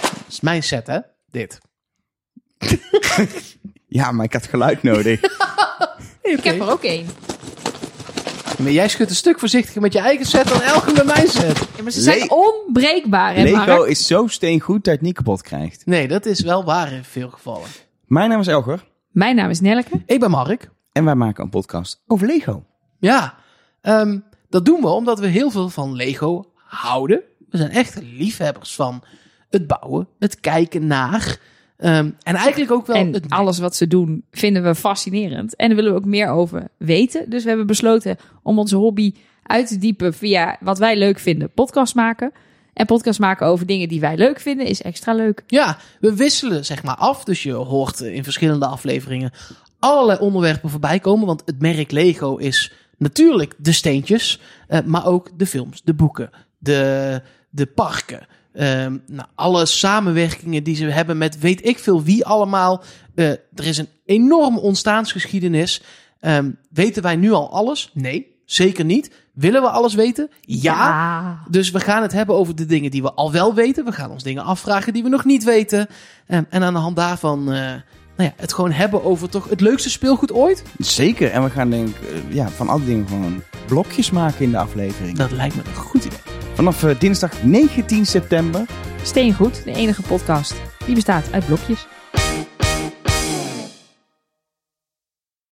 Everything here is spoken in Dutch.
Dat is mijn set, hè? Dit. Ja, maar ik had geluid nodig. Ik heb er ook één. Maar jij schudt een stuk voorzichtiger met je eigen set dan Elke met mijn set. Ja, maar ze Le- zijn onbreekbaar, hè, Lego Mark? is zo steengoed dat je het niet kapot krijgt. Nee, dat is wel waar in veel gevallen. Mijn naam is Elger Mijn naam is Nelleke. Ik ben Mark. en wij maken een podcast over Lego. Ja, ehm, dat doen we omdat we heel veel van Lego houden. We zijn echt liefhebbers van het bouwen, het kijken naar. ehm, en eigenlijk ook wel En het alles wat ze doen vinden we fascinerend. En daar willen we ook meer over weten. Dus we hebben besloten om onze hobby uit te diepen via wat wij leuk vinden. Podcast maken. En podcast maken over dingen die wij leuk vinden is extra leuk. Ja, we wisselen zeg maar af. Dus je hoort eh, in verschillende afleveringen allerlei onderwerpen voorbij komen. Want het merk Lego is natuurlijk de steentjes, eh, maar ook de films, de boeken, de, de parken. Ehm, nou, alle samenwerkingen die ze hebben met weet ik veel wie allemaal. Eh, er is een enorme ontstaansgeschiedenis. Ehm, weten wij nu al alles? Nee, zeker niet. Willen we alles weten? ja. Dus we gaan het hebben over de dingen die we al wel weten. We gaan ons dingen afvragen die we nog niet weten. Ehm, en aan de hand daarvan eh, nou ja, het gewoon hebben over toch het leukste speelgoed ooit. Zeker, en we gaan denk ik eh, ja, van alle dingen gewoon blokjes maken in de aflevering. Dat lijkt me een goed idee. Vanaf eh, dinsdag 19 september Steengoed, de enige podcast die bestaat uit blokjes.